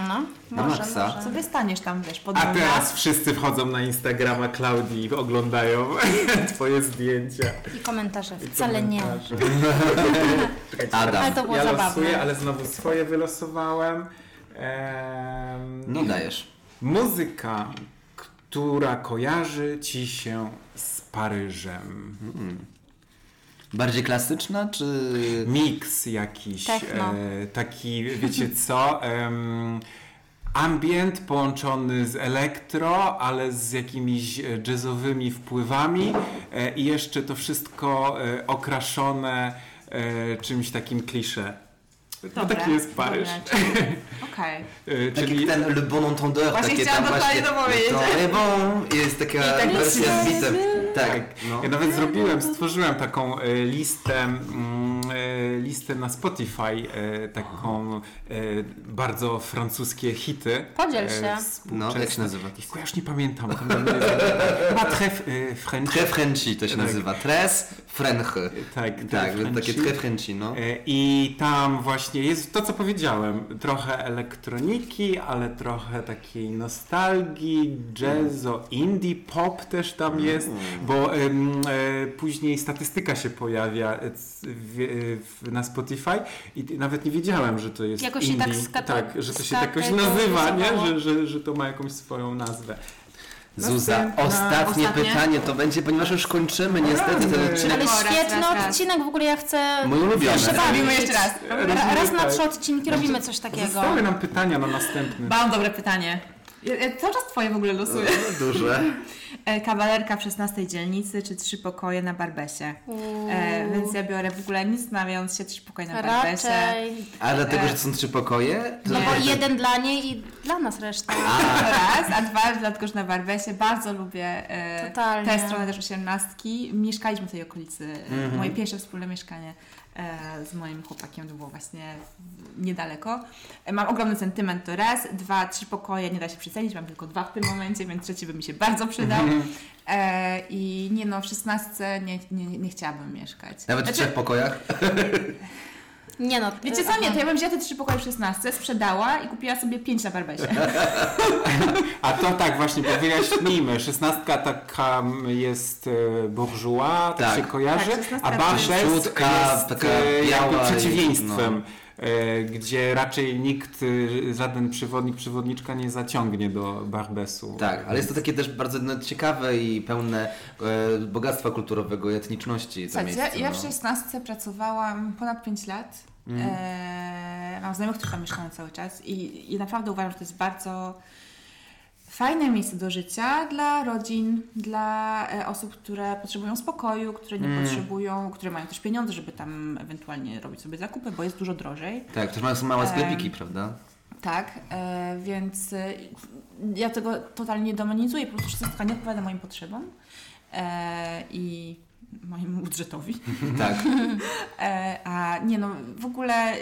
Speaker 1: Na
Speaker 3: może,
Speaker 1: maksa.
Speaker 3: może.
Speaker 2: Co ty staniesz tam, wiesz, pod
Speaker 4: A
Speaker 3: no.
Speaker 2: nią,
Speaker 4: teraz wszyscy wchodzą na Instagrama Klaudii i oglądają twoje zdjęcia.
Speaker 3: I komentarze wcale nie.
Speaker 4: Czekajcie,
Speaker 1: Adam.
Speaker 3: Ale to było
Speaker 4: ja losuję,
Speaker 3: zabawne.
Speaker 4: ale znowu swoje wylosowałem. Ehm,
Speaker 1: No dajesz.
Speaker 4: Muzyka, która kojarzy ci się z Paryżem.
Speaker 1: Bardziej klasyczna, czy...
Speaker 4: Miks jakiś.
Speaker 3: Techno.
Speaker 4: E, taki, wiecie co? Em, ambient połączony z elektro, ale z jakimiś e, jazzowymi wpływami e, i jeszcze to wszystko e, okraszone e, czymś takim klisze.
Speaker 3: no.
Speaker 4: To
Speaker 1: No
Speaker 2: Dobra,
Speaker 4: taki jest Paryż.
Speaker 2: dobra. Okej.
Speaker 4: E,
Speaker 1: Tak jak ten Le Bon Entendeur,
Speaker 2: Właśnie
Speaker 1: takie
Speaker 2: chciałam
Speaker 1: tam właśnie...
Speaker 2: dokładnie to powiedzieć.
Speaker 1: Le Bon jest taka
Speaker 2: I tak
Speaker 1: wersja z
Speaker 2: leci.
Speaker 1: bitem. Tak, no.
Speaker 4: Ja nawet zrobiłem, stworzyłem taką e, listę, mm, e, listę na Spotify, e, taką e, bardzo francuskie hity.
Speaker 3: Podziel
Speaker 4: e,
Speaker 3: się.
Speaker 4: współczesne.
Speaker 1: No, jak się nazywa?
Speaker 4: Jejku, Ja już nie pamiętam. Tam będzie- Chyba Tref e, French.
Speaker 1: Tre Frenchy to się
Speaker 4: Tak.
Speaker 1: nazywa. Tres Frenchy.
Speaker 4: Tak,
Speaker 1: Tak,
Speaker 4: Tref
Speaker 1: więc takie
Speaker 4: Frenchy.
Speaker 1: tre Frenchy, no.
Speaker 4: E, I tam właśnie jest to, co powiedziałem. Trochę elektroniki, ale trochę takiej nostalgii, jazzo, indie, pop też tam jest, bo em, e, później statystyka się pojawia e, c- w, e, w, na Spotify i t- nawet nie wiedziałem, że to jest
Speaker 3: Jakoś się
Speaker 4: indie.
Speaker 3: tak skata-
Speaker 4: tak, że to się
Speaker 3: skata-
Speaker 4: jakoś nazywa, nie?
Speaker 3: skategoryzowało.
Speaker 4: Że, że, że to ma jakąś swoją nazwę.
Speaker 1: Zuza,
Speaker 4: Następna-
Speaker 1: ostatnie
Speaker 2: ostatnie?
Speaker 1: pytanie to będzie, ponieważ już kończymy niestety ten
Speaker 4: Rany.
Speaker 1: odcinek.
Speaker 3: Ale
Speaker 2: Raz,
Speaker 3: świetny
Speaker 2: raz, raz.
Speaker 3: odcinek, w ogóle ja chcę...
Speaker 1: Mój ulubiony.
Speaker 3: Proszę bardzo.
Speaker 2: Robimy jeszcze raz.
Speaker 3: Ra- Raz na
Speaker 4: Tak.
Speaker 3: trzy odcinki robimy coś takiego.
Speaker 4: Zostały nam pytania na następny.
Speaker 2: Mam dobre pytanie. Ja- ja Cały czas twoje w ogóle losuję.
Speaker 1: Duże.
Speaker 2: E, Kawalerka w 16 dzielnicy czy trzy pokoje na Barbesie. E, więc ja biorę w ogóle nic znając się trzy pokoje na e, Barbesie.
Speaker 3: Raczej.
Speaker 1: A dlatego, że są trzy pokoje? To
Speaker 3: No bo
Speaker 1: dlatego-
Speaker 3: jeden dla niej i dla nas reszta.
Speaker 2: To Raz, a dwa, dlatego że na Barbesie bardzo lubię e,
Speaker 3: Totalnie.
Speaker 2: tę stronę też osiemnastki. Mieszkaliśmy w tej okolicy.
Speaker 1: Mhm.
Speaker 2: E, Moje pierwsze wspólne mieszkanie e, z moim chłopakiem to było właśnie w- niedaleko. E, mam ogromny sentyment to raz, dwa, trzy pokoje, nie da się przecenić, mam tylko dwa w tym momencie, więc trzeci by mi się bardzo przydał.
Speaker 1: Mhm.
Speaker 2: E, I nie no, w szesnastce nie, nie, nie chciałabym mieszkać.
Speaker 1: Nawet w
Speaker 2: Znaczy,
Speaker 1: trzech pokojach?
Speaker 3: Nie no.
Speaker 2: Wiecie co, nie, to ja bym wzięła te trzy pokoje w 16, sprzedała i kupiła sobie pięć na Barbesie.
Speaker 4: A to tak właśnie, bo wyjaśnijmy. Szesnastka taka mm, jest e, burżuła, tak,
Speaker 1: Tak.
Speaker 4: się kojarzy,
Speaker 2: Tak, szesnastka
Speaker 4: a
Speaker 2: to jest-
Speaker 4: Barbes jest
Speaker 1: Żółtka, taka
Speaker 4: e, jakby
Speaker 1: biała i- no.
Speaker 4: przeciwieństwem, e, gdzie raczej nikt, e, żaden przewodnik, przewodniczka nie zaciągnie do Barbesu.
Speaker 1: Tak, ale jest to takie też bardzo no, ciekawe i pełne e, bogactwa kulturowego i etniczności. To
Speaker 2: Słuchajcie,
Speaker 1: miejsce,
Speaker 2: ja
Speaker 1: no.
Speaker 2: w 16 pracowałam ponad 5 lat. Eee, mam znajomych, którzy tam mieszkają cały czas i, i naprawdę uważam, że to jest bardzo fajne miejsce do życia dla rodzin, dla e, osób, które potrzebują spokoju, które nie potrzebują, które mają też pieniądze, żeby tam ewentualnie robić sobie zakupy, bo jest dużo drożej.
Speaker 1: Tak, też mają są małe sklepiki, prawda?
Speaker 2: Tak, e, więc e, ja tego totalnie nie demonizuję, po prostu wszystko nie odpowiada moim potrzebom e, i mojemu budżetowi.
Speaker 1: Tak.
Speaker 2: E, a nie no, w ogóle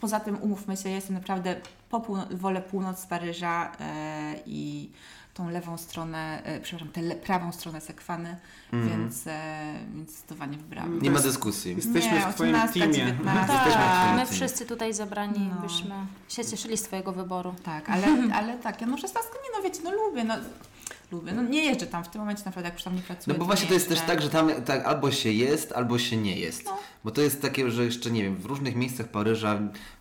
Speaker 2: poza tym umówmy się, ja jestem naprawdę po półno- wolę północ Paryża e, i tą lewą stronę, e, przepraszam, tę le- prawą stronę Sekwany, więc, e, więc zdecydowanie wybrałam.
Speaker 1: Mhm. Nie ma dyskusji.
Speaker 4: Jesteśmy
Speaker 2: Nie,
Speaker 4: w twoim
Speaker 2: 18,
Speaker 4: teamie.
Speaker 2: 19.
Speaker 3: Tak, my
Speaker 1: Jesteśmy-
Speaker 3: wszyscy tutaj zebrani
Speaker 2: No.
Speaker 3: byśmy się cieszyli z Twojego wyboru.
Speaker 2: Tak, ale, ale tak, ja no 16 nie no wiecie, no lubię, no lubię. No nie jeżdżę tam w tym momencie, naprawdę jak już tam nie pracuję.
Speaker 1: No bo właśnie
Speaker 2: nie
Speaker 1: to jest też
Speaker 2: jeżdżę.
Speaker 1: tak, że tam tak, albo się jest, albo się nie jest.
Speaker 2: No.
Speaker 1: Bo to jest takie, że jeszcze nie wiem, w różnych miejscach Paryża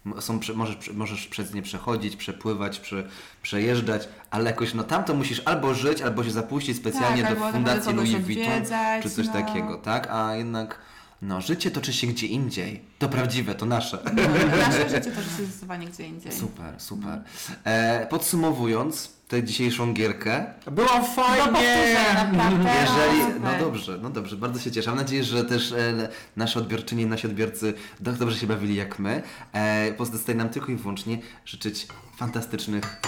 Speaker 1: m- są, prze- możesz, prze- możesz przez nie przechodzić, przepływać, prze, przejeżdżać, ale jakoś no tam to musisz albo żyć, albo się zapuścić specjalnie
Speaker 2: Tak,
Speaker 1: do
Speaker 2: albo naprawdę
Speaker 1: Fundacji
Speaker 2: kogoś
Speaker 1: Louis Vuitton
Speaker 2: odwiedzać,
Speaker 1: czy coś
Speaker 2: no.
Speaker 1: takiego, tak? A jednak no życie toczy się gdzie indziej. To prawdziwe, to nasze.
Speaker 2: No, Nasze życie to jest zdecydowanie gdzie indziej.
Speaker 1: Super, super. E, podsumowując tę dzisiejszą gierkę,
Speaker 4: Było fajnie!
Speaker 2: No, Naprawdę.
Speaker 1: Jeżeli, no
Speaker 2: super.
Speaker 1: dobrze, no dobrze, bardzo się cieszę. Mam nadzieję, że też e, nasze odbiorczynie, nasi odbiorcy tak dobrze się bawili jak my. E, pozostaje nam tylko i wyłącznie życzyć fantastycznych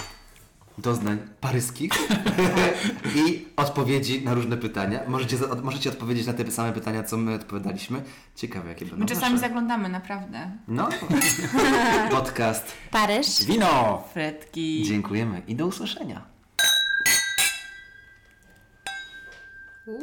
Speaker 1: doznań paryskich i odpowiedzi na różne pytania. Możecie, za- od, możecie odpowiedzieć na te same pytania, co my odpowiadaliśmy. Ciekawe, jakie będą
Speaker 2: My czasami
Speaker 1: nasze.
Speaker 2: zaglądamy, naprawdę.
Speaker 1: No, podcast.
Speaker 3: Paryż.
Speaker 4: Wino!
Speaker 2: Fredki.
Speaker 1: Dziękujemy i do usłyszenia.